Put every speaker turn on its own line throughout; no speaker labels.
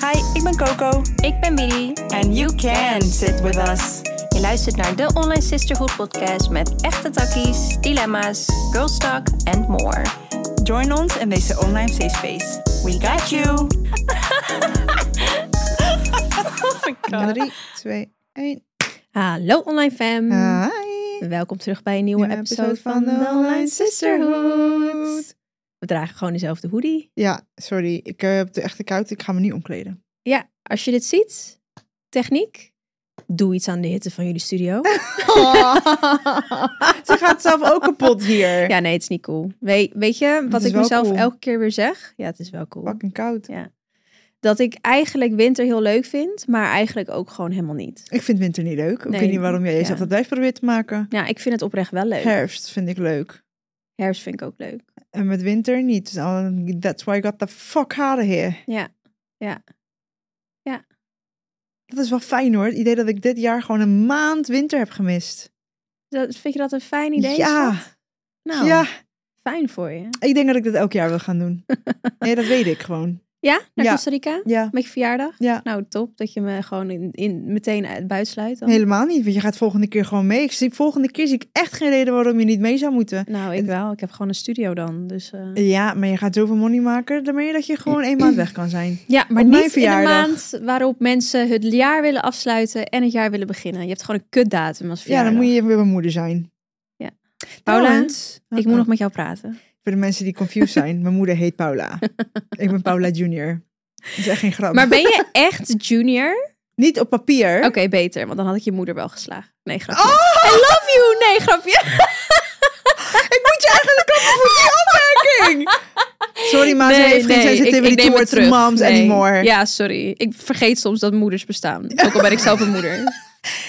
Hi, ik ben Coco.
Ik ben Miri.
And you can sit with us.
Je luistert naar de Online Sisterhood podcast met echte takkies, dilemma's, girl talk and more.
Join ons in deze online safe space. We got you.
Oh my god.
3, 2, 1.
Hallo online fam.
Hi.
Welkom terug bij een nieuwe, Mm. episode van de Online Sisterhood. We dragen gewoon dezelfde hoodie.
Ja, sorry. Ik eh, heb de echte koud. Ik ga me niet omkleden.
Ja, als je dit ziet, techniek, doe iets aan de hitte van jullie studio.
Ze gaat zelf ook kapot hier.
ja, nee, het is niet cool. We- weet je
Het
wat
is
ik
wel
mezelf
cool.
elke keer weer zeg? Ja, het is wel cool.
Fucking koud.
Dat ik eigenlijk winter heel leuk vind, maar eigenlijk ook gewoon helemaal niet.
Ik vind winter niet leuk. Ik
Nee,
weet niet waarom jij jezelf
ja.
dat wijf probeert te maken.
Ja, ik vind het oprecht wel leuk.
Herfst vind ik leuk.
Herfst vind ik ook leuk.
En met winter niet. Dus, oh, That's why I got the fuck out of here.
Ja, ja. Ja.
Dat is wel fijn hoor. Het idee dat ik dit jaar gewoon een maand winter heb gemist.
Dat, vind je dat een fijn idee?
ja.
schat? Nou,
Ja.
fijn voor je.
Ik denk dat ik dat elk jaar wil gaan doen. Nee, dat weet ik gewoon.
Ja, naar
Ja.
Costa Rica?
Ja.
Met je verjaardag?
Ja.
Nou, top dat je me gewoon in, in, meteen uit- buitsluit. Dan.
Helemaal niet, want je gaat volgende keer gewoon mee. Ik zie, volgende keer zie ik echt geen reden waarom je niet mee zou moeten.
Nou, ik wel. Ik heb gewoon een studio dan. Dus, eh.
Ja, maar je gaat zoveel money maken, daarmee dat je gewoon één maand weg kan zijn.
Ja, maar
op mijn
niet in een
verjaardag.
maand waarop mensen het jaar willen afsluiten en het jaar willen beginnen. Je hebt gewoon een kutdatum als
Ja,
verjaardag.
dan moet je even weer mijn moeder zijn.
Ja.
Paula,
Trouwens,
Oh,
Ik moet
oh.
nog met jou praten.
Voor de mensen die confused zijn, mijn moeder heet Paula. ik ben Paula junior. Dat is echt geen grap.
Maar ben je echt junior?
Niet op papier. Oh!
Oké, beter. Want dan had ik je moeder wel geslagen. Nee, grapje. I love you! Nee, grapje.
Ik moet je eigenlijk op voor die opmerking. Sorry, maar ze heeft geen sensitivity
neem het
towards
terug.
moms
Nee.
anymore.
Ja, sorry. Ik vergeet soms dat moeders bestaan. Ook al ben ik zelf een moeder.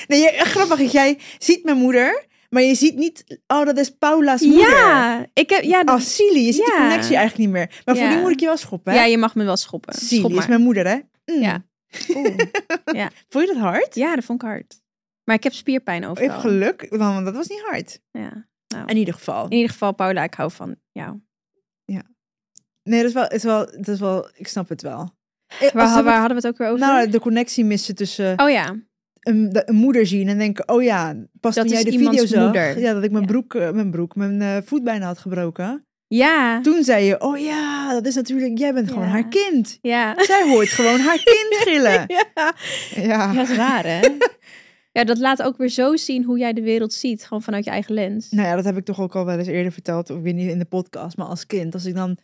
Nee, je- eh, grappig is, jij ziet mijn moeder, maar je ziet niet, oh, dat is Paula's moeder.
Ja, ik heb, ja,
Oh, Silly, je ziet de
Ja.
connectie eigenlijk niet meer. Maar voor
Ja.
die moet ik je wel schoppen.
ja,
hè?
je mag me wel schoppen.
Silly
Schop
is
maar.
mijn moeder, hè? Mm.
Ja.
Vond je dat hard?
ja, dat vond ik hard. Maar ik heb spierpijn
Ik heb
overal.
geluk, want dat was niet hard.
ja.
In ieder geval.
In ieder geval, Paula, ik hou van jou.
Nee, dat is wel, het is wel, dat is wel ik snap het wel. Eh,
Waar,
als ze
waar
wat-
hadden we het ook weer over?
Nou, de connectie missen tussen
oh ja.
een, de- een moeder zien en denken, oh ja, pas
Dat
toen jij
is
de
iemands
video zag,
moeder.
ja, dat ik mijn
Ja.
broek, eh, mijn broek, mijn eh, voet bijna had gebroken.
Ja.
Toen zei je, oh ja, dat is natuurlijk, jij bent gewoon
Ja.
haar kind.
Ja.
Zij hoort gewoon haar kind gillen.
Ja.
Ja.
dat is waar, hè? ja, dat laat ook weer zo zien hoe jij de wereld ziet. Gewoon vanuit je eigen lens.
Nou ja, dat heb ik toch ook al wel eens eerder verteld, of ik weet niet in de podcast, maar als kind, als ik dan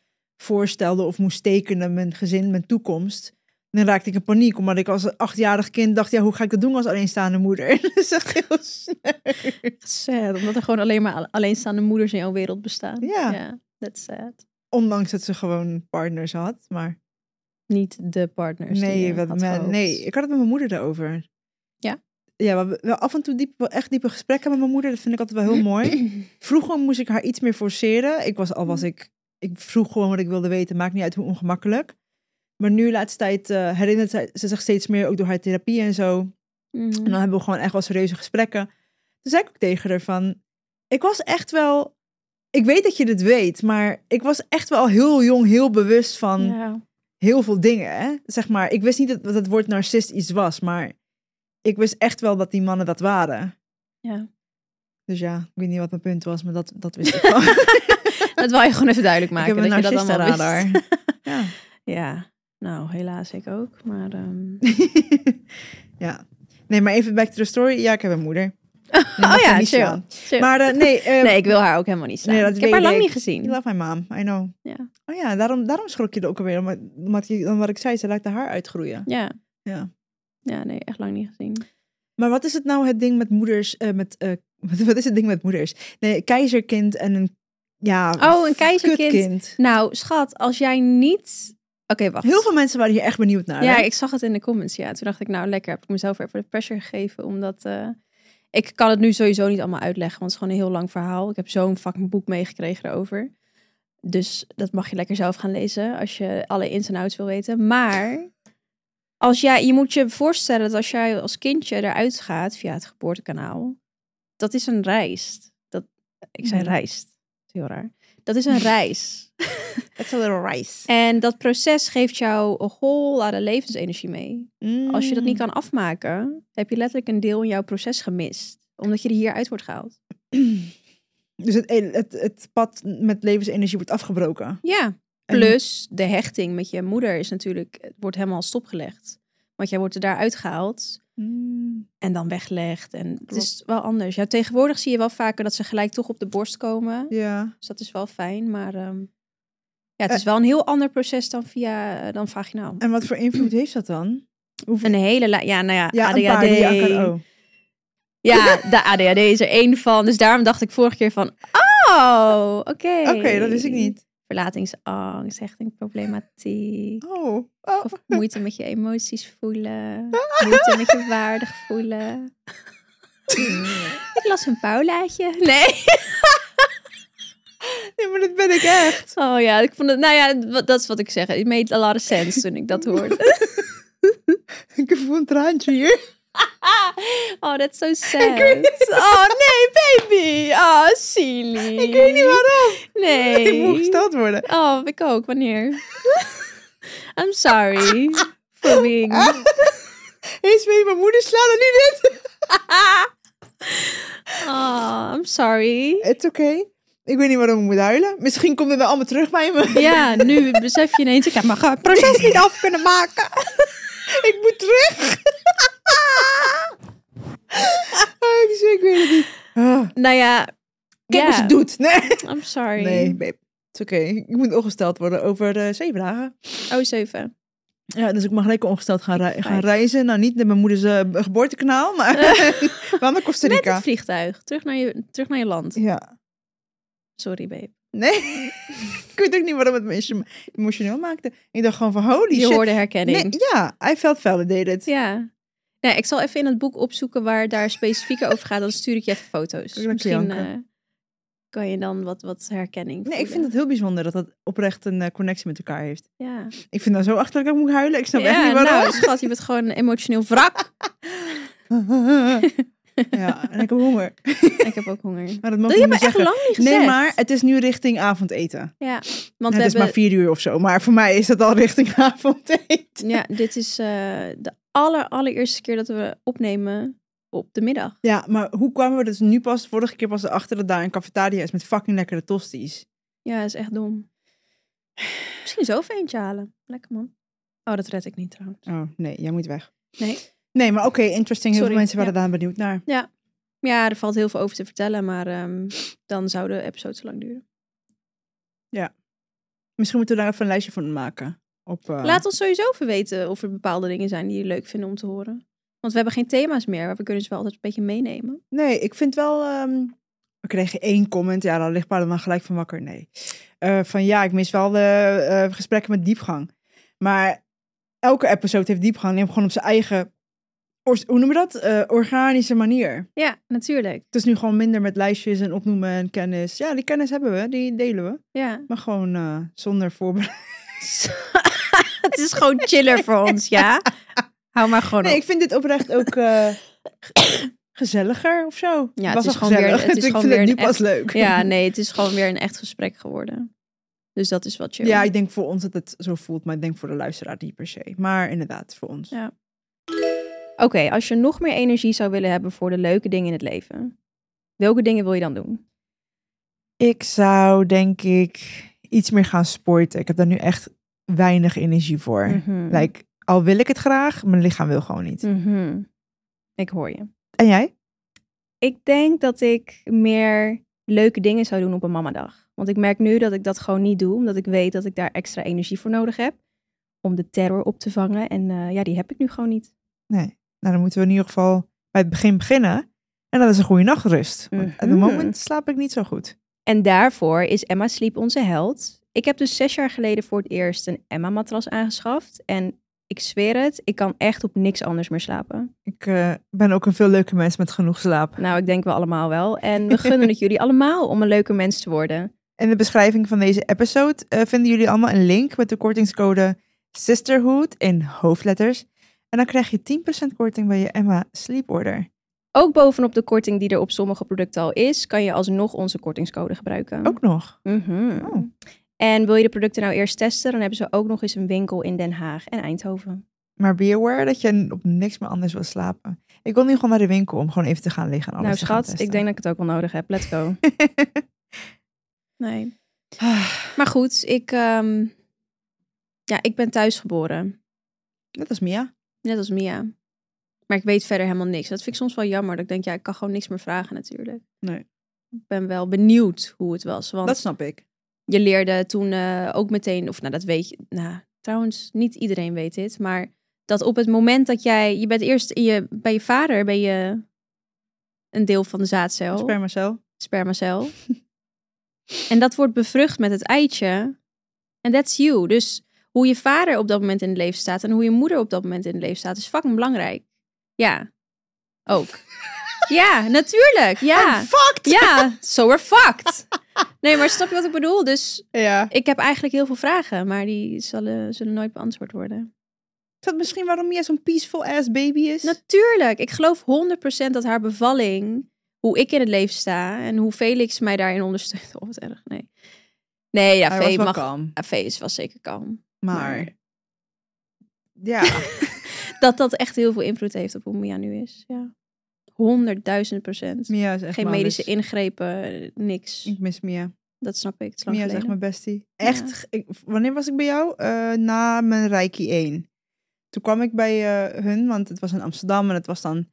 voorstelde of moest tekenen mijn gezin, mijn toekomst, dan raakte ik in paniek, omdat ik als een achtjarig kind dacht, ja, hoe ga ik dat doen als alleenstaande moeder? dat is echt heel sneu.
Sad, omdat er gewoon alleen maar al- alleenstaande moeders in jouw wereld bestaan.
Ja.
That's sad.
Ondanks dat ze gewoon partners had, maar
Niet de partners. die
nee,
je
wat,
had
maar-
gehoopt.
nee, ik had het met mijn moeder daarover.
Ja?
Ja, we hebben wel af en toe diep, wel echt diepe gesprekken met mijn moeder, dat vind ik altijd wel heel mooi. Vroeger moest ik haar iets meer forceren. Ik was al
Mm.
was ik, ik vroeg gewoon wat ik wilde weten, maakt niet uit hoe ongemakkelijk. Maar nu laatst tijd eh, herinnert zij, ze zich steeds meer, ook door haar therapie en zo.
Mhm.
En dan hebben we gewoon echt wel serieuze gesprekken. Toen zei ik ook tegen haar van, ik was echt wel, ik weet dat je dit weet, maar ik was echt wel heel jong, heel bewust van
Ja.
heel veel dingen. Hè? Zeg maar, ik wist niet dat, dat het woord narcist iets was, maar ik wist echt wel dat die mannen dat waren.
Ja.
Dus ja, ik weet niet wat mijn punt was, maar dat, dat wist ik wel.
Dat wil je gewoon even duidelijk maken.
ik heb
dat
een
je dat allemaal wist.
narcistenradar. ja.
Ja, nou helaas ik ook. Maar ehm,
ja. Nee, maar even back to the story. Ja, ik heb een moeder.
Oh ja, chill.
chill. Maar eh, nee, eh
nee, ik wil haar ook helemaal niet slaan.
Nee, dat
ik heb haar
weet
lang
ik.
niet
you
gezien.
love my mom, I know.
Ja.
Oh ja, daarom, daarom schrok je er ook alweer. Omdat, omdat je- omdat ik zei, ze laat haar haar uitgroeien.
Ja.
Ja.
Ja, nee, echt lang niet gezien.
Maar wat is het nou het ding met moeders, eh, met, eh, wat, wat is het ding met moeders? Nee, keizerkind en een, ja,
Oh, een keizerkind.
kutkind.
Nou, schat, als jij niet... Oké, wacht.
Heel veel mensen waren hier echt benieuwd naar.
Ja,
hè?
ik zag het in de comments. Ja, toen dacht ik, nou lekker, heb ik mezelf even de pressure gegeven. Omdat eh, ik kan het nu sowieso niet allemaal uitleggen, want het is gewoon een heel lang verhaal. Ik heb zo'n fucking boek meegekregen erover. Dus dat mag je lekker zelf gaan lezen als je alle ins en outs wil weten. Maar als jij, je moet je voorstellen dat als jij als kindje eruit gaat via het geboortekanaal, dat is een reis. Dat, ik zei
Mhm.
reis. Dat is heel raar. Dat is een reis.
Het a little rice.
En dat proces geeft jou een whole lot of levensenergie mee. Als je dat niet
Mm.
kan afmaken, heb je letterlijk een deel in jouw proces gemist. Omdat je er hieruit wordt gehaald.
Dus het, het, het pad met levensenergie wordt afgebroken.
Ja.
En-
Plus de hechting met je moeder is natuurlijk, het wordt helemaal stopgelegd. Want jij wordt er daaruit gehaald
Mm.
en dan weggelegd. En het
Klopt.
is wel anders. Ja, tegenwoordig zie je wel vaker dat ze gelijk toch op de borst komen.
Ja.
Dus dat is wel fijn. Maar ehm, ja, het
Eh.
is wel een heel ander proces dan via eh, dan vaginaal.
En wat voor invloed heeft dat dan? Hoeveel...
Een hele la- ja, nou ja,
Ja,
ADHD.
een paar die je aan kan- oh.
Ja, de ADHD is er één van. Dus daarom dacht ik vorige keer van, oh, oké.
Oké, dat wist ik niet.
Verlatingsangst, hechtingproblematiek.
Oh. oh.
Of moeite met je emoties voelen. Moeite met je waardig voelen. ik las een Paulaatje. Nee.
Nee, maar dat ben ik echt.
Oh ja, ik vond het, nou ja, wat- dat is wat ik zeg. It made a lot of sense toen ik dat hoorde.
ik voel een traantje hier.
Oh, that's so sad. Oh nee, baby. Oh, silly.
Ik weet niet waarom.
Nee.
Ik moet gesteld worden.
Oh, ik ook. Wanneer? I'm sorry for being...
Eens mee mijn moeder slaan en nu dit.
Oh, I'm sorry.
Het is oké. Ik weet niet waarom ik moet huilen. Misschien komt het wel allemaal terug bij me.
Ja, nu besef je ineens... Ik heb mijn ge-
proces niet af kunnen maken. ik moet terug. Oh, ik, zweer, ik weet het niet. Ah,
Nou ja...
Kijk wat
ja,
ze doet. Nee,
I'm sorry.
nee babe. Het is oké. Ik moet ongesteld worden over eh, zeven dagen.
Oh, zeven.
Ja, dus ik mag lekker ongesteld gaan, rei- gaan
Vijf.
reizen. Nou, niet naar mijn moeders eh, geboortekanaal, maar wel naar Costa
Met
Rica.
het vliegtuig. Terug naar, je, terug naar je land.
Ja.
Sorry, babe.
Nee. ik weet ook niet waarom het me emo- emotioneel maakte. Ik dacht gewoon van holy
Je
shit.
hoorde herkenning.
Nee, ja, I felt validated.
Ja. Nee, ik zal even in het boek opzoeken waar daar specifieker over gaat. Dan stuur ik je even foto's.
Kan ik
Misschien
janken?
eh, kan je dan wat, wat herkenning
Nee, ik vind
voelen.
het heel bijzonder dat dat oprecht een eh, connectie met elkaar heeft.
Ja.
Ik vind dat zo achterlijk dat ik moet huilen. Ik snap echt
ja,
niet waarom.
nou, schat, je bent gewoon een emotioneel wrak. nou.
ja, en ik heb honger.
ik heb ook honger.
Maar dat mag
Dat je
ik
me
niet
echt
zeggen.
lang niet gezegd.
Nee, maar het is nu richting avondeten.
Ja,
Nou,
want
het
we
is
hebben...
maar vier uur of zo, maar voor mij is dat al richting avondeten.
Ja, dit is eh, de aller, allereerste keer dat we opnemen op de middag.
Ja, maar hoe kwamen we dus nu pas, vorige keer pas erachter dat daar een cafetaria is met fucking lekkere tosties?
Ja, is echt dom. Misschien zo even eentje halen. Lekker man. Oh, dat red ik niet trouwens.
Oh, nee, jij moet weg.
Nee.
Nee, maar oké, interesting. Heel
Sorry,
veel mensen waren
ja.
daar benieuwd naar.
Ja, er valt heel veel over te vertellen, maar ehm, dan zou de episode te lang duren.
Misschien moeten we daar even een lijstje van maken. Op, eh,
Laat ons sowieso even weten of er bepaalde dingen zijn die je leuk vinden om te horen. Want we hebben geen thema's meer, maar we kunnen ze wel altijd een beetje meenemen.
Nee, ik vind wel... ehm, We kregen één comment. Ja, dan ligt Paula dan gelijk van wakker. Nee. Eh, van ja, ik mis wel de eh, gesprekken met diepgang. Maar elke episode heeft diepgang. Neem gewoon op zijn eigen... ors- Hoe noemen we dat? Eh, organische manier.
Ja, natuurlijk.
Het is nu gewoon minder met lijstjes en opnoemen en kennis. Ja, die kennis hebben we. Die delen we.
Ja.
Maar gewoon eh, zonder voorbereiding.
het is gewoon chiller voor ons, ja? Hou maar gewoon
Nee,
op.
ik vind dit oprecht ook eh, gezelliger of zo.
Ja, het
Was
is
al
gewoon weer-
gezellig.
het is
ik
gewoon
vind
weer
het nu
een
pas leuk.
Ja, nee, het is gewoon weer een echt gesprek geworden. Dus dat is wat je.
Ja, ik denk voor ons dat het zo voelt, maar ik denk voor de luisteraar niet per se. Maar inderdaad, voor ons.
Ja. Oké, als je nog meer energie zou willen hebben voor de leuke dingen in het leven, welke dingen wil je dan doen?
Ik zou denk ik iets meer gaan sporten. Ik heb daar nu echt weinig energie voor.
Mhm.
Like, al wil ik het graag, mijn lichaam wil gewoon niet.
Mhm. Ik hoor je.
En jij?
Ik denk dat ik meer leuke dingen zou doen op een mamadag. Want ik merk nu dat ik dat gewoon niet doe, omdat ik weet dat ik daar extra energie voor nodig heb. Om de terror op te vangen. En eh, ja, die heb ik nu gewoon niet.
Nee. Nou, dan moeten we in ieder geval bij het begin beginnen. En dat is een goede nachtrust. Want Op
Mhm.
het moment slaap ik niet zo goed.
En daarvoor is Emma Sleep onze held. Ik heb dus zes jaar geleden voor het eerst een Emma-matras aangeschaft. En ik zweer het, ik kan echt op niks anders meer slapen.
Ik eh, ben ook een veel leuke mens met genoeg slaap.
Nou, ik denk wel allemaal wel. En we gunnen het jullie allemaal om een leuke mens te worden.
In de beschrijving van deze episode eh, vinden jullie allemaal een link met de kortingscode Sisterhood in hoofdletters. En dan krijg je 10% korting bij je Emma Sleep Order.
Ook bovenop de korting die er op sommige producten al is, kan je alsnog onze kortingscode gebruiken.
Ook nog.
Mhm.
Oh.
En wil je de producten nou eerst testen, dan hebben ze ook nog eens een winkel in Den Haag en Eindhoven.
Maar be aware dat je op niks meer anders wil slapen. Ik wil nu gewoon naar de winkel om gewoon even te gaan liggen en alles
nou
te gaan
schat, ik
testen.
denk dat ik het ook wel nodig heb. Let's go. nee. Maar goed, ik, ehm, ja, ik ben thuisgeboren.
Net als Mia.
Net als Mia. Maar ik weet verder helemaal niks. Dat vind ik soms wel jammer. Dat ik denk, ja, ik kan gewoon niks meer vragen natuurlijk.
Nee.
Ik ben wel benieuwd hoe het was. Want
Dat snap ik.
je leerde toen eh, ook meteen, of nou dat weet je, nou trouwens, niet iedereen weet dit, maar dat op het moment dat jij, je bent eerst in je, bij je vader ben je een deel van de zaadcel,
Spermacel.
spermacel. en dat wordt bevrucht met het eitje. En that's you. Dus hoe je vader op dat moment in het leven staat en hoe je moeder op dat moment in het leven staat, is fucking belangrijk. Ja, ook. ja, natuurlijk. Ja.
Fucked!
Ja, so we're fucked. Nee, maar snap je wat ik bedoel? Dus
Ja.
ik heb eigenlijk heel veel vragen, maar die zullen, zullen nooit beantwoord worden.
Is dat misschien waarom Mia zo'n peaceful ass baby is?
Natuurlijk, ik geloof 100% dat haar bevalling, hoe ik in het leven sta en hoe Felix mij daarin ondersteunt. Oh, wat erg, nee. Nee, ja,
Hij was
Vee
wel
mag...
kalm.
ja, Vee is wel zeker kalm.
maar... Ja.
Dat dat echt heel veel invloed heeft op hoe Mia nu is, ja. 100.000 procent.
Mia dus- is echt
Geen
mijn
medische
best-
ingrepen, niks.
Ik mis Mia.
Dat snap ik. Het is lang
Mia is echt
geleden.
mijn bestie.
Ja.
Echt. Ik, wanneer was ik bij jou? Eh, na mijn Reiki 1. Toen kwam ik bij eh, hun, want het was in Amsterdam en het was dan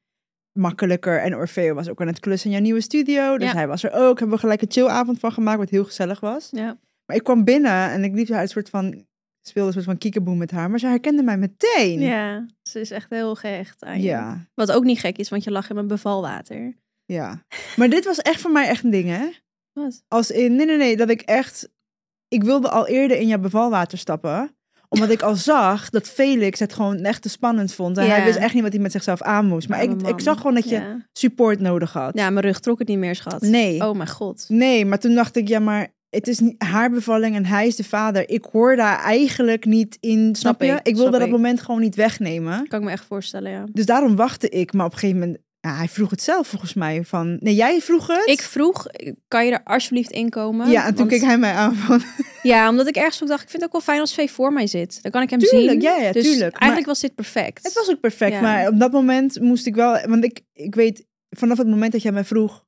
makkelijker. En Orfeo was ook aan het klussen in jouw nieuwe studio. Dus
Ja.
hij was er ook. Hebben we gelijk een chillavond van gemaakt, wat heel gezellig was.
Ja.
Maar ik kwam binnen en ik liep haar een soort van... Speelde een soort van kiekeboe met haar, maar ze herkende mij meteen.
Ja, ze is echt heel gehecht aan je.
Ja,
Wat ook niet gek is, want je lag in mijn bevalwater.
ja. Maar dit was echt voor mij echt een ding, hè?
Wat?
Als in, nee, nee, nee, dat ik echt... Ik wilde al eerder in jouw bevalwater stappen. Omdat ik al zag dat Felix het gewoon echt te spannend vond. En hij
Ja.
wist echt niet wat hij met zichzelf aan moest. Maar ik, ik zag gewoon dat je
Ja.
support nodig had.
Ja, mijn rug trok het niet meer, schat.
Nee.
Oh mijn god.
Nee, maar toen dacht ik, ja, maar het is niet haar bevalling en hij is de vader. Ik hoor daar eigenlijk niet in, snap,
Snap
je?
ik,
Ik wilde
snap
dat
ik.
moment gewoon niet wegnemen.
Kan ik me echt voorstellen, ja.
Dus daarom wachtte ik. Maar op een gegeven moment, ja, hij vroeg het zelf volgens mij. Van, nee, jij vroeg het?
Ik vroeg, kan je er alsjeblieft inkomen?
ja, en toen
Want-
keek hij mij aan van,
Ja, omdat ik ergens ook dacht, ik vind het ook wel fijn als Vee voor mij zit. Dan kan ik hem
Tuurlijk,
zien.
ja, ja,
dus
tuurlijk. Maar-
eigenlijk was dit perfect.
Het was ook perfect,
Ja.
maar op dat moment moest ik wel... Want ik, ik weet, vanaf het moment dat jij mij vroeg...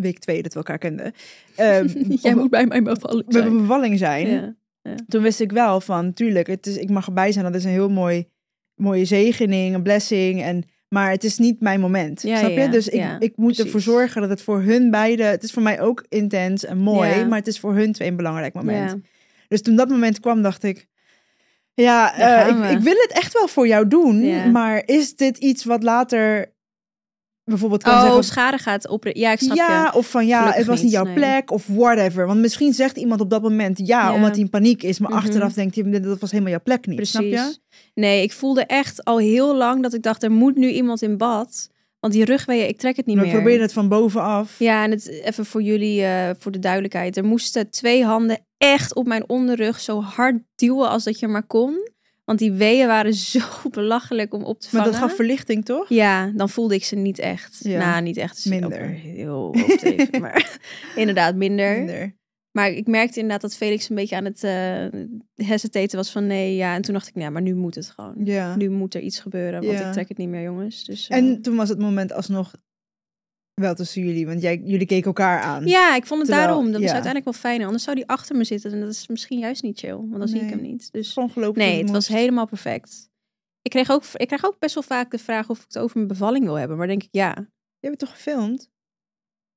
Week twee, dat we elkaar kenden. ehm,
Jij
of
moet bij mij bevallen
we bij mijn bevalling zijn.
Ja.
Toen wist ik wel van, tuurlijk, het is, ik mag erbij zijn. Dat is een heel mooi, mooie zegening, een blessing. En, maar het is niet mijn moment,
Ja,
snap je?
ja,
dus ik,
ja,
ik moet ervoor
precies.
zorgen dat het voor hun beiden... Het is voor mij ook intens en mooi,
Ja.
maar het is voor hun twee een belangrijk moment.
Ja.
Dus toen dat moment kwam, dacht ik... Ja,
Daar
eh,
gaan
ik,
we.
ik wil het echt wel voor jou doen,
Ja.
maar is dit iets wat later bijvoorbeeld kan
Oh,
zeggen...
schade gaat op. Ja, ik snap
ja,
je.
of van ja,
Gelukkig
het was niet
niet,
jouw
nee.
plek of whatever. Want misschien zegt iemand op dat moment ja,
Ja.
omdat hij in paniek is. Maar
Mhm.
achteraf denkt hij, dat was helemaal jouw plek niet. Snap je?
Nee, ik voelde echt al heel lang dat ik dacht, er moet nu iemand in bad. Want die rugweeën, ik trek het niet
Maar we
meer.
proberen het van bovenaf.
Ja, en het, even voor jullie, eh, voor de duidelijkheid. Er moesten twee handen echt op mijn onderrug zo hard duwen als dat je maar kon. Want die weeën waren zo belachelijk om op te
maar
vangen.
dat gaf verlichting, toch?
Ja, dan voelde ik ze niet echt.
Ja.
Nou, niet echt. Dat is
Minder.
ook weer Heel overdreven, maar inderdaad minder.
Minder.
Maar ik merkte inderdaad dat Felix een beetje aan het eh hesitaten was van nee, ja. En toen dacht ik, nou, maar nu moet het gewoon.
Ja.
Nu moet er iets gebeuren, want
Ja.
ik trek het niet meer, jongens. Dus, eh,
En toen was het moment alsnog wel tussen jullie. Want jij, jullie keken elkaar aan.
Ja, ik vond het
Hm. Terwijl-
daarom. Dat was
ja.
uiteindelijk wel fijn. Anders zou die achter me zitten en dat is misschien juist niet chill, want dan zie ik
Nee.
hem niet. Dus
Gewoon gelopen hoe
nee,
het
het was
moest.
helemaal perfect. Ik kreeg, ook, ik kreeg ook best wel vaak de vraag of ik het over mijn bevalling wil hebben. Maar denk ik, ja.
Je hebt het toch gefilmd?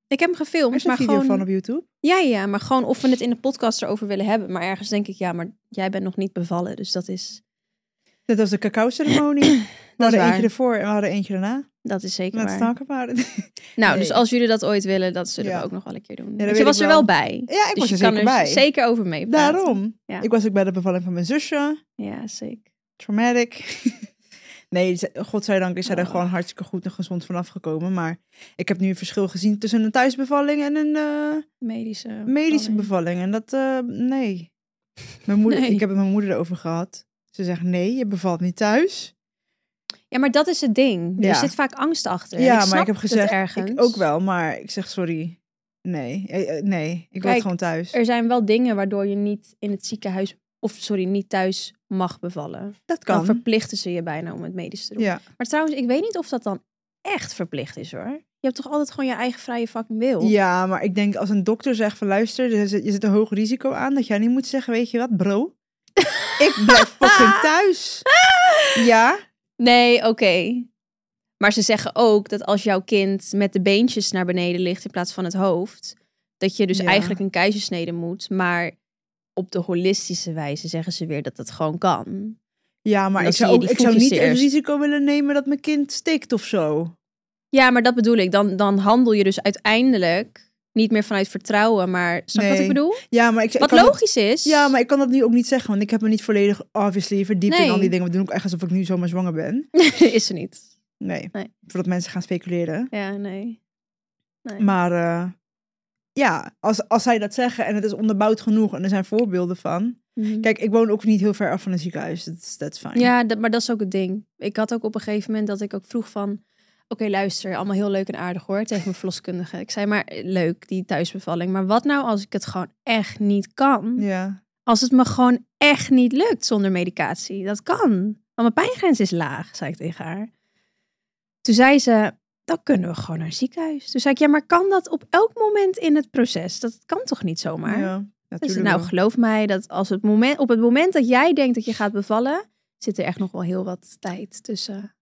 Ik heb hem
Er
gefilmd,
is een
maar
video
gewoon...
van op YouTube.
Ja, ja, maar gewoon of we het in de podcast erover willen hebben. Maar ergens denk ik, ja, maar jij bent nog niet bevallen. Dus dat is,
Net als de cacao-ceremonie. We
dat is
hadden
waar.
eentje ervoor en we hadden eentje daarna.
Dat is zeker
Let's
waar.
talk about it.
Nou, dus
Nee.
als jullie dat ooit willen, dat zullen
Ja.
we ook nog wel een keer doen.
dat
Want
weet
je
ik
was er
wel.
wel bij.
Ja, ik
dus
was
je
er
kan
zeker
er
bij.
zeker over mee praten.
Daarom.
Ja.
Ik was ook bij de bevalling van mijn zusje.
Ja, zeker.
Traumatic. nee, ze- godzijdank is zij er
Oh.
gewoon hartstikke goed en gezond vanaf gekomen. Maar ik heb nu een verschil gezien tussen een thuisbevalling en een eh,
Medische.
medische
bevalling.
bevalling. En dat, eh, nee. Mijn moeder,
Nee.
Ik heb het met mijn moeder erover gehad. Ze zegt, nee, je bevalt niet thuis.
Ja, maar dat is het ding.
Ja.
Er zit vaak angst achter. En
ja,
ik snap
maar ik heb
het
gezegd,
ergens.
ik ook wel. Maar ik zeg, sorry. Nee, eh, eh, nee. Ik wil
Kijk,
het gewoon thuis.
Er zijn wel dingen waardoor je niet in het ziekenhuis, of sorry, niet thuis mag bevallen.
dat
Dan
kan.
verplichten ze je bijna om het medisch te doen.
Ja.
Maar trouwens, ik weet niet of dat dan echt verplicht is hoor. Je hebt toch altijd gewoon je eigen vrije fucking wil?
ja, maar ik denk als een dokter zegt van luister, er zit- je zit een hoog risico aan, dat jij niet moet zeggen, weet je wat, bro? ik blijf fucking thuis. ja.
Nee, oké. Maar ze zeggen ook dat als jouw kind met de beentjes naar beneden ligt in plaats van het hoofd, dat je dus
Ja.
eigenlijk een keizersnede moet. Maar op de holistische wijze zeggen ze weer dat dat gewoon kan.
Ja, maar
Dan
ik
zie
zou,
je
ook,
die
ik zou
voetjes
niet het
eerst.
risico willen nemen dat mijn kind stikt of zo.
Ja, maar dat bedoel ik. Dan, dan handel je dus uiteindelijk niet meer vanuit vertrouwen, maar snap je wat
Nee.
ik bedoel?
Ja, maar ik, ik
Wat
kan
logisch is.
Dat, ja, maar ik kan dat nu ook niet zeggen, want ik heb me niet volledig obviously verdiept in
Nee.
al die dingen. We doen ook echt alsof ik nu zomaar zwanger ben.
is er niet.
Nee,
Nee.
voordat mensen gaan speculeren.
Ja, nee. nee.
Maar eh, ja, als, als zij dat zeggen en het is onderbouwd genoeg en er zijn voorbeelden van.
Mhm.
Kijk, ik woon ook niet heel ver af van een ziekenhuis, dat is that's fine.
Ja, dat, maar dat is ook het ding. Ik had ook op een gegeven moment dat ik ook vroeg van... Oké, luister, allemaal heel leuk en aardig hoor, tegen mijn verloskundige. Ik zei maar, eh, leuk, die thuisbevalling. Maar wat nou als ik het gewoon echt niet kan?
Ja.
Als het me gewoon echt niet lukt zonder medicatie? Dat kan. Want mijn pijngrens is laag, zei ik tegen haar. Toen zei ze, dan kunnen we gewoon naar een ziekenhuis. Toen zei ik, ja, maar kan dat op elk moment in het proces? Dat kan toch niet zomaar?
ja,
Dus,
natuurlijk.
nou,
wel.
geloof mij dat als het moment, op het moment dat jij denkt dat je gaat bevallen, zit er echt nog wel heel wat tijd tussen.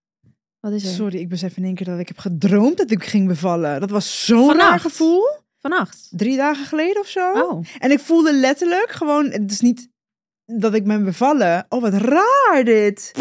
Wat is er?
Sorry, ik besef in één keer dat ik heb gedroomd dat ik ging bevallen. Dat was zo'n raar
Vannacht.
gevoel.
Vannacht.
Drie dagen geleden of zo.
Oh.
En ik voelde letterlijk gewoon, het is niet dat ik ben bevallen. Oh, wat raar dit.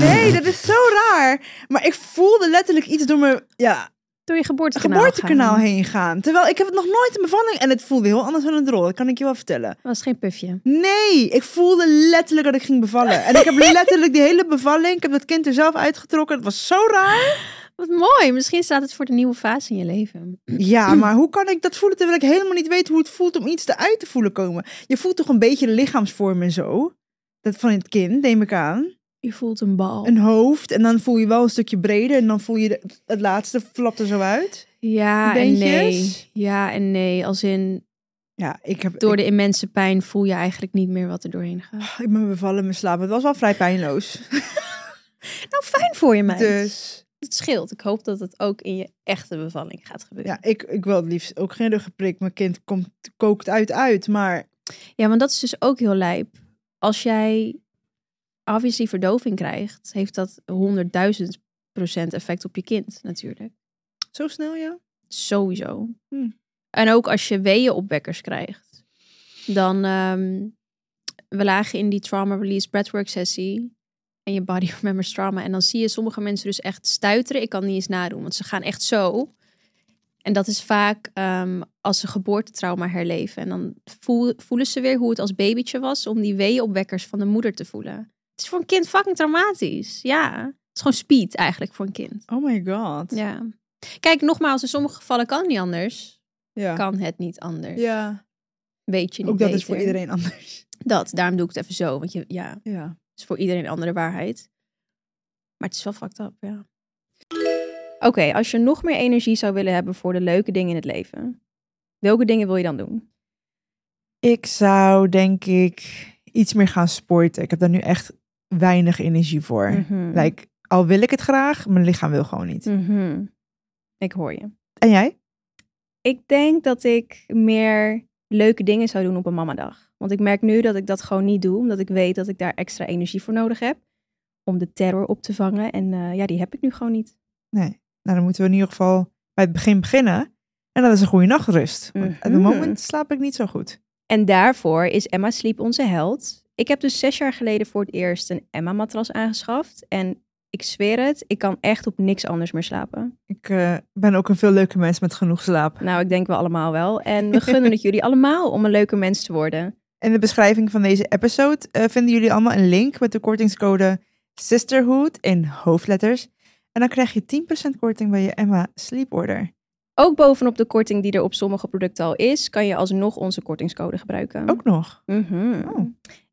Nee, dat is zo raar. Maar ik voelde letterlijk iets door mijn ja,
Door je geboortekanaal.
geboortekanaal
gaan.
heen gaan. Terwijl ik heb het nog nooit een bevalling en het voelde heel anders dan een drol. Dat kan ik je wel vertellen.
Dat was geen pufje.
Nee, ik voelde letterlijk dat ik ging bevallen. En ik heb letterlijk die hele bevalling, ik heb dat kind er zelf uitgetrokken. Het was zo raar.
Wat mooi. Misschien staat het voor de nieuwe fase in je leven.
Ja, maar hoe kan ik dat voelen terwijl ik helemaal niet weet hoe het voelt om iets eruit te voelen komen? Je voelt toch een beetje de lichaamsvorm en zo? Dat van het kind, neem ik aan.
Je voelt een bal.
een hoofd en dan voel je wel een stukje breder en dan voel je de- het laatste flapt er zo uit.
Ja en
Beentjes?
nee. Ja en nee. Als in,
Ja, ik heb
door de immense pijn voel je eigenlijk niet meer wat er doorheen gaat.
ik, ik ben bevallen in mijn slaap. Het was wel vrij pijnloos.
Nou, fijn voor je, meid.
Dus
Het scheelt. Ik hoop dat het ook in je echte bevalling gaat gebeuren.
ja, ik, ik wil het liefst ook geen ruggeprik. Mijn kind komt, kookt uit uit, maar
Ja, want dat is dus ook heel lijp. Als jij obviously verdoving krijgt, heeft dat 100.000 procent effect op je kind natuurlijk.
zo snel ja.
Sowieso.
Hm.
En ook als je weeënopwekkers krijgt, dan ehm, we lagen in die trauma release breathwork sessie en je body remembers trauma. En dan zie je sommige mensen dus echt stuiteren. Ik kan het niet eens nadoen, want ze gaan echt zo. En dat is vaak ehm, als ze geboortetrauma herleven. En dan voel- voelen ze weer hoe het als babytje was om die weeënopwekkers van de moeder te voelen. Het is voor een kind fucking traumatisch. Ja, het is gewoon speed eigenlijk voor een kind.
Oh my god. Ja.
Ja. Kijk, nogmaals, in sommige gevallen kan het niet anders.
Ja.
Kan het niet anders.
ja.
Weet je niet
Ook dat is
beter.
voor iedereen anders.
Dat, daarom doe ik het even zo. Want je, ja, het
Ja.
is voor iedereen een andere waarheid. Maar het is wel fucked up, ja. Oké, als je nog meer energie zou willen hebben voor de leuke dingen in het leven. Welke dingen wil je dan doen?
Ik zou denk ik iets meer gaan sporten. Ik heb daar nu echt weinig energie voor. Like, al wil ik het graag, mijn lichaam wil gewoon niet.
Mhm. Ik hoor je.
En jij?
Ik denk dat ik meer leuke dingen zou doen op een mamadag. Want ik merk nu dat ik dat gewoon niet doe, omdat ik weet dat ik daar extra energie voor nodig heb. Om de terror op te vangen. En eh, ja, die heb ik nu gewoon niet.
Nee. Nou, dan moeten we in ieder geval bij het begin beginnen. En dat is een goede nachtrust. Want op het
Mhm.
moment slaap ik niet zo goed.
En daarvoor is Emma Sleep onze held. Ik heb dus zes jaar geleden voor het eerst een Emma-matras aangeschaft. En ik zweer het, ik kan echt op niks anders meer slapen.
Ik eh, ben ook een veel leuke mens met genoeg slaap.
Nou, ik denk wel allemaal wel. En we gunnen het jullie allemaal om een leuke mens te worden.
In de beschrijving van deze episode eh, vinden jullie allemaal een link met de kortingscode Sisterhood in hoofdletters. En dan krijg je 10% korting bij je Emma Sleep Order.
Mm. Ook bovenop de korting die er op sommige producten al is, kan je alsnog onze kortingscode gebruiken.
Ook nog.
Mhm.
Oh. Oh,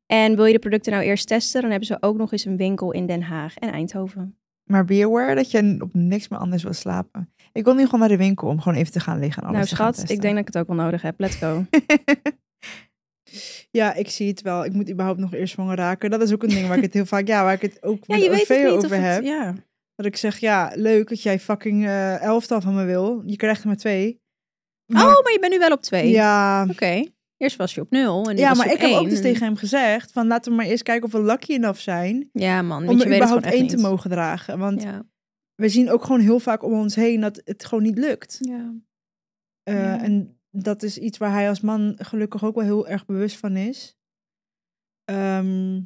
En wil je de producten nou eerst testen, dan hebben ze ook nog eens een winkel in Den Haag en Eindhoven.
Maar beware dat je op niks meer anders wil slapen. Ik wil nu gewoon naar de winkel om gewoon even te gaan liggen en alles
nou
te gaan
schat, ik
testen.
denk dat ik het ook wel nodig heb. Let's go.
ja, ik zie het wel. Ik moet überhaupt nog eerst zwanger raken. Dat is ook een ding waar ik het heel vaak, ja, waar ik het ook
ja,
met
je
de
weet het
OV
niet of
over
het-
heb.
Ja.
Dat ik zeg, ja, leuk dat jij fucking eh elftal van me wil. Je krijgt er maar twee. Maar-
Oh, maar je bent nu wel op twee.
ja.
Oké. Eerst was je op nul en nu
Ja,
was je
maar
op
ik heb ook
één.
dus tegen hem gezegd van laten we maar eerst kijken of we lucky enough zijn
Ja man,
om
want je
er
weet het gewoon
überhaupt
echt
één
niet.
te mogen dragen. Want
Ja.
we zien ook gewoon heel vaak om ons heen dat het gewoon niet lukt.
ja.
Eh,
Ja.
En dat is iets waar hij als man gelukkig ook wel heel erg bewust van is. Ehm,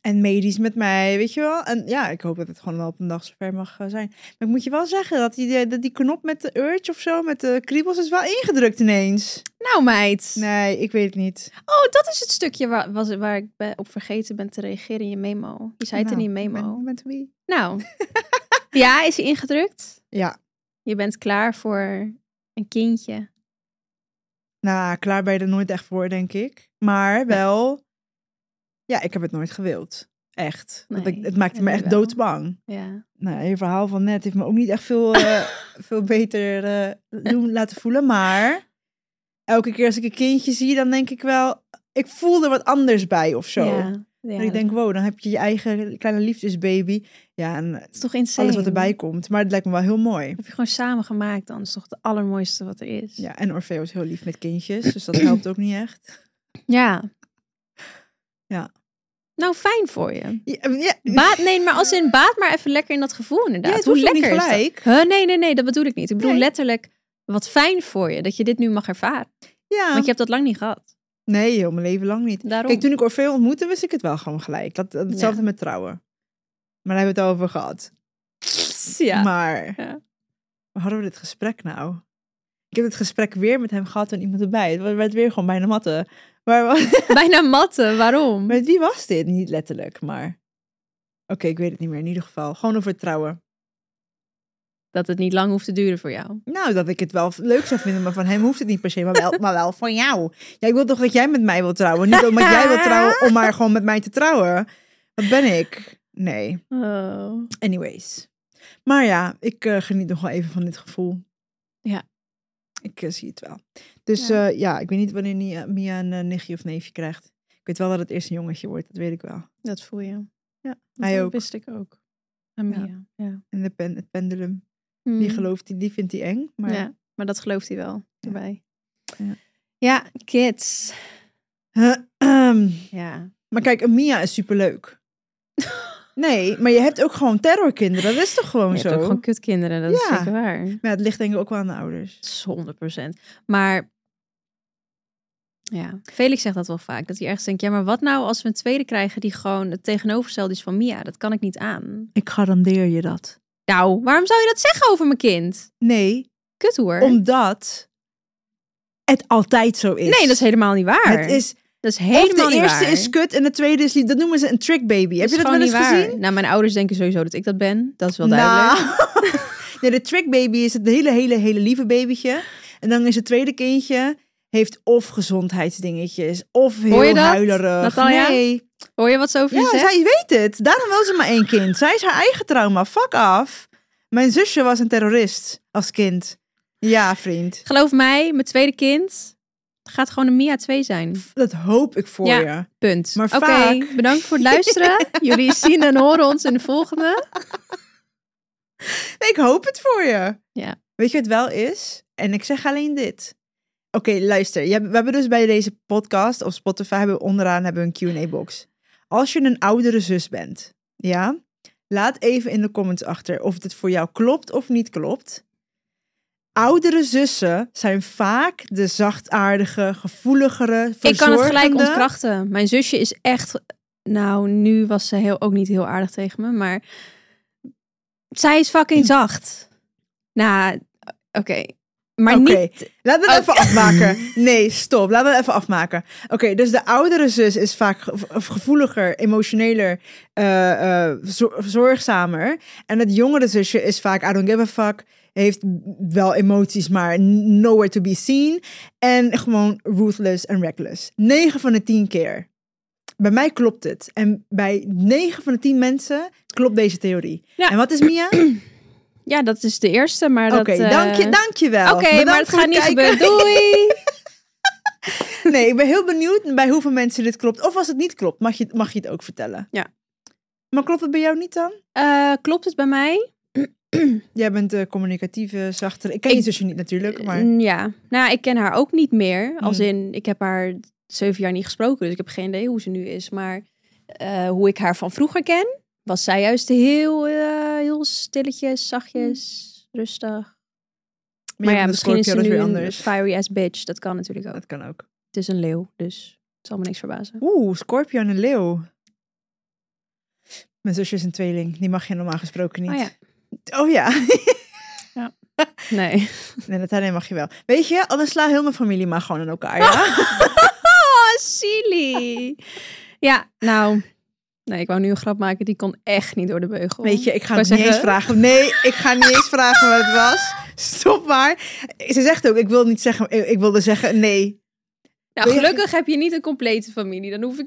en medisch met mij, weet je wel. En ja, ik hoop dat het gewoon wel op een dag zover mag eh, zijn. Maar ik moet je wel zeggen dat die, eh, dat die knop met de urge of zo, met de kriebels, is wel ingedrukt ineens.
Nou meid.
Nee, ik weet het niet.
Oh, dat is het stukje waar, was, waar ik ben- op vergeten ben te reageren in je memo. Je zei het in
Nou,
je
ik
memo.
ben- Met wie?
Nou. ja, is hij ingedrukt?
Ja,
Je bent klaar voor een kindje.
nou, klaar ben je er nooit echt voor, denk ik. Maar wel, ja, ik heb het nooit gewild. Echt. Want ik,
Nee,
het maakte
en
me
nu
echt
wel.
doodsbang.
Ja.
Nou, je verhaal van net heeft me ook niet echt veel, eh, veel beter eh, doen, laten voelen. Maar elke keer als ik een kindje zie, dan denk ik wel... Ik voel er wat anders bij of zo.
Ja.
En
Ja,
ik denk, wow, dan heb je je eigen kleine liefdesbaby. Ja, en
dat is toch insane.
alles wat erbij komt. Maar het lijkt me wel heel mooi.
Dat heb je gewoon samen gemaakt dan. Dat is toch het allermooiste wat er is.
Ja, en Orfeo is heel lief met kindjes, dus dat helpt ook niet echt.
Ja.
Ja.
Nou, fijn voor je.
Ja, ja,
Baat, nee, maar als in baat maar even lekker in dat gevoel inderdaad.
Ja, het
Hoe
hoeft ook
lekker
niet
is dat?
gelijk.
Huh? Nee, nee, nee, dat bedoel ik niet. Ik bedoel
Nee.
letterlijk wat fijn voor je dat je dit nu mag ervaren.
ja.
Want je hebt dat lang niet gehad.
Nee, heel mijn leven lang niet.
Daarom.
Kijk, toen ik Orfeo ontmoette, wist ik het wel gewoon gelijk. Dat, hetzelfde met trouwen. Maar daar hebben we het al over gehad.
ja.
Maar
Ja.
waar hadden we dit gesprek nou? Ik heb dit gesprek weer met hem gehad en iemand erbij. Het werd weer gewoon bijna matte. Maar wa-
Bijna matten, waarom?
met wie was dit? Niet letterlijk, maar... Oké, ik weet het niet meer. In ieder geval, gewoon over trouwen.
Dat het niet lang hoeft te duren voor jou.
Nou, dat ik het wel leuk zou vinden, maar van hem hoeft het niet per se. Maar wel, maar wel van jou. Ja, ik wil toch dat jij met mij wil trouwen. Niet omdat jij wil trouwen, om maar gewoon met mij te trouwen. Wat ben ik? Nee.
Oh.
Anyways. Maar ja, ik eh, geniet nog wel even van dit gevoel.
Ja.
Ik eh, zie het wel. Dus
Ja.
ja, ja ik weet niet wanneer Nia- Mia een eh, nichtje of neefje krijgt. Ik weet wel dat het eerst een jongetje wordt, dat weet ik wel.
Dat voel je.
Ja,
Dat
hij ook.
wist ik ook. En
Ja.
Mia. Ja.
En de pen, het pendulum,
Hmm.
die gelooft die, die vindt hij eng. Maar
Ja, maar dat gelooft hij wel. Erbij.
Ja.
ja, kids.
ehm,
Ja.
maar kijk, een Mia is superleuk. nee, maar je hebt ook gewoon terrorkinderen. Dat is toch gewoon
Je
zo?
hebt ook gewoon kutkinderen, dat is
Ja.
zeker waar.
Maar ja, het ligt denk ik ook wel aan de ouders.
Dat is 100%. Maar ja, Felix zegt dat wel vaak. Dat hij ergens denkt, ja, maar wat nou als we een tweede krijgen die gewoon het tegenovergestelde is van Mia? Dat kan ik niet aan.
Ik garandeer je dat.
Nou, waarom zou je dat zeggen over mijn kind?
Nee,
Kut hoor.
Omdat het altijd zo is.
Nee, dat is helemaal niet waar.
Het is
dat is
of
helemaal
de
niet
eerste
waar.
is kut en de tweede is lief. Dat noemen ze een trick baby. Heb
is
je dat
gewoon
wel eens
niet waar.
gezien?
Nou, mijn ouders denken sowieso dat ik dat ben. Dat is wel duidelijk.
Nou. nee, de trick baby is het hele, hele, hele lieve babytje. En dan is het tweede kindje heeft of gezondheidsdingetjes of heel
je dat,
huilerig.
Natalia?
Nee.
Hoor je wat ze over je
Ja,
zegt?
zij weet het. Daarom wil ze maar één kind. Zij is haar eigen trauma. Fuck af. Mijn zusje was een terrorist als kind. Ja, vriend.
Geloof mij, mijn tweede kind gaat gewoon een Mia 2 zijn.
Dat hoop ik voor
Ja.
je.
Punt.
Maar
Oké,
vaak-
bedankt voor het luisteren. Jullie zien en horen ons in de volgende.
Nee, ik hoop het voor je.
Ja.
Weet je wat het wel is? En ik zeg alleen dit. Oké, luister. Je hebt- we hebben dus bij deze podcast op Spotify hebben we onderaan hebben we een Q&A-box. Als je een oudere zus bent, ja, laat even in de comments achter of dit voor jou klopt of niet klopt. Oudere zussen zijn vaak de zachtaardige, gevoeligere,
Ik kan het gelijk
verzorgende.
ontkrachten. Mijn zusje is echt. Nou, nu was ze heel, ook niet heel aardig tegen me, maar. Zij is fucking zacht. Nou, oké. Maar
Oké,
niet.
Laten we het even afmaken. Nee, stop. Laten we het even afmaken. Oké, dus de oudere zus is vaak ge- of gevoeliger, emotioneler, eh, eh, zor- zorgzamer. En het jongere zusje is vaak, I don't give a fuck, heeft wel emoties, maar nowhere to be seen. En gewoon ruthless en reckless. 9 van de 10 keer. bij mij klopt het. En bij 9 van de 10 mensen klopt deze theorie.
Ja.
En wat is Mia? Oké,
Ja, dat is de eerste, maar dat... eh,
dank, je, dank je wel.
Oké, maar het gaat niet gebeuren. Doei!
Nee, ik ben heel benieuwd bij hoeveel mensen dit klopt. Of als het niet klopt, mag je, mag je het ook vertellen.
Ja.
Maar klopt het bij jou niet dan?
Eh, klopt het bij mij?
Jij bent de communicatieve, zachtere... Ik ken je
Ik-
zusje niet natuurlijk, maar...
Mm, Ja. Nou, ik ken haar ook niet meer. Als
Mm.
in, ik heb haar zeven jaar niet gesproken, dus ik heb geen idee hoe ze nu is. Maar eh, hoe ik haar van vroeger ken, was zij juist heel, eh, heel stilletjes, zachtjes, rustig.
Maar, Mm. ja, misschien is
ze
het
nu
weer
een
anders.
fiery ass bitch. Dat kan natuurlijk ook.
Dat kan ook.
Het is een leeuw, dus het zal me niks verbazen.
Oeh, Scorpio en een leeuw. Mijn zusje is een tweeling. Die mag je normaal gesproken niet.
Oh ja,
Oh ja.
nee.
Nee, Nathalie mag je wel. Weet je, anders sla heel mijn familie maar gewoon aan elkaar. Ja?
Oh, silly. ja, nou. Nee, ik wou nu een grap maken. Die kon echt niet door de beugel.
Weet je, ik ga
wou
het niet eens
zeggen-
vragen. Nee, ik ga niet eens vragen wat het was. Stop maar. Ze zegt ook, ik wil niet zeggen, ik ik wilde zeggen nee.
Nou,
Wil je-
gelukkig heb je niet een complete familie. Dan hoef ik.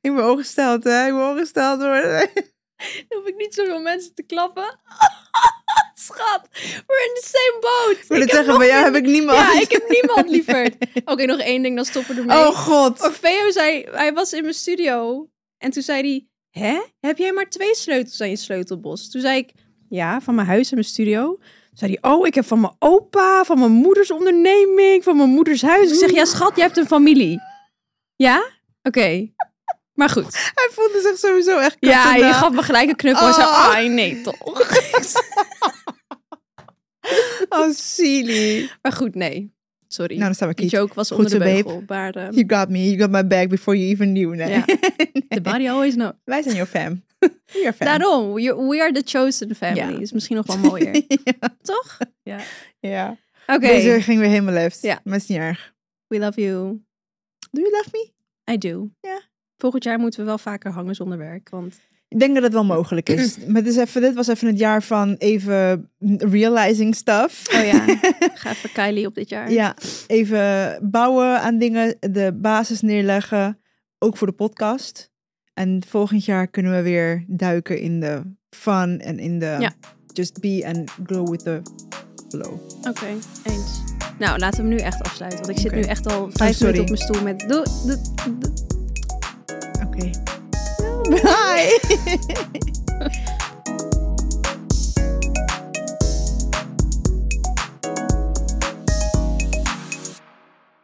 Ik ben ongesteld, hè. Ik ben ongesteld worden.
Dan hoef ik niet zoveel mensen te klappen. Schat, we're in the same boat.
Ik wilde
heb
zeggen,
nog
bij jou heb
minder-
ik niemand.
Ja, ik heb niemand liever. Oké, nog één ding, dan stoppen we ermee.
Oh god.
Orfeo zei, hij was in mijn studio en toen zei hij, hè, heb jij maar twee sleutels aan je sleutelbos? Toen zei ik, ja, van mijn huis en mijn studio. Toen zei hij, oh, ik heb van mijn opa, van mijn moeders onderneming, van mijn moeders huis. Ik zeg, ja schat, je hebt een familie. Ja? Oké. Maar goed.
Hij voelde zich sowieso echt kat
Ja,
en
je
dag.
gaf me gelijk een knuffel. en zei,
Oh.
ah, nee toch.
Oh, silly.
maar goed, nee. Sorry.
Nou, dan staan we
Die
kiet.
joke was
Goed
onder de
zo, babe.
beugel. Maar eh,
You got me. You got my back before you even knew. Nee.
Ja. the body always knows.
Wij zijn jouw fam. Your fam.
Daarom, we we are the chosen family.
Ja.
Is misschien nog wel mooier. Toch?
ja.
Oké.
Deze ging weer helemaal left.
Ja.
Maar is niet erg.
We love you.
Do you love me?
I do.
Ja.
Volgend jaar moeten we wel vaker hangen zonder werk. Want
Ik denk dat het wel mogelijk is. maar het is even, dit was even het jaar van even realizing stuff.
oh ja, ga even Kylie op dit jaar.
Ja, even bouwen aan dingen, de basis neerleggen, ook voor de podcast. En volgend jaar kunnen we weer duiken in de fun en in de
Ja.
just be and glow with the flow.
Oké, eens. Nou, laten we hem nu echt afsluiten. Want ik zit
Oké. Oh,
nu echt al vijf
sorry.
minuten op mijn stoel met... Doe, doe, doe.
Oké. Bye!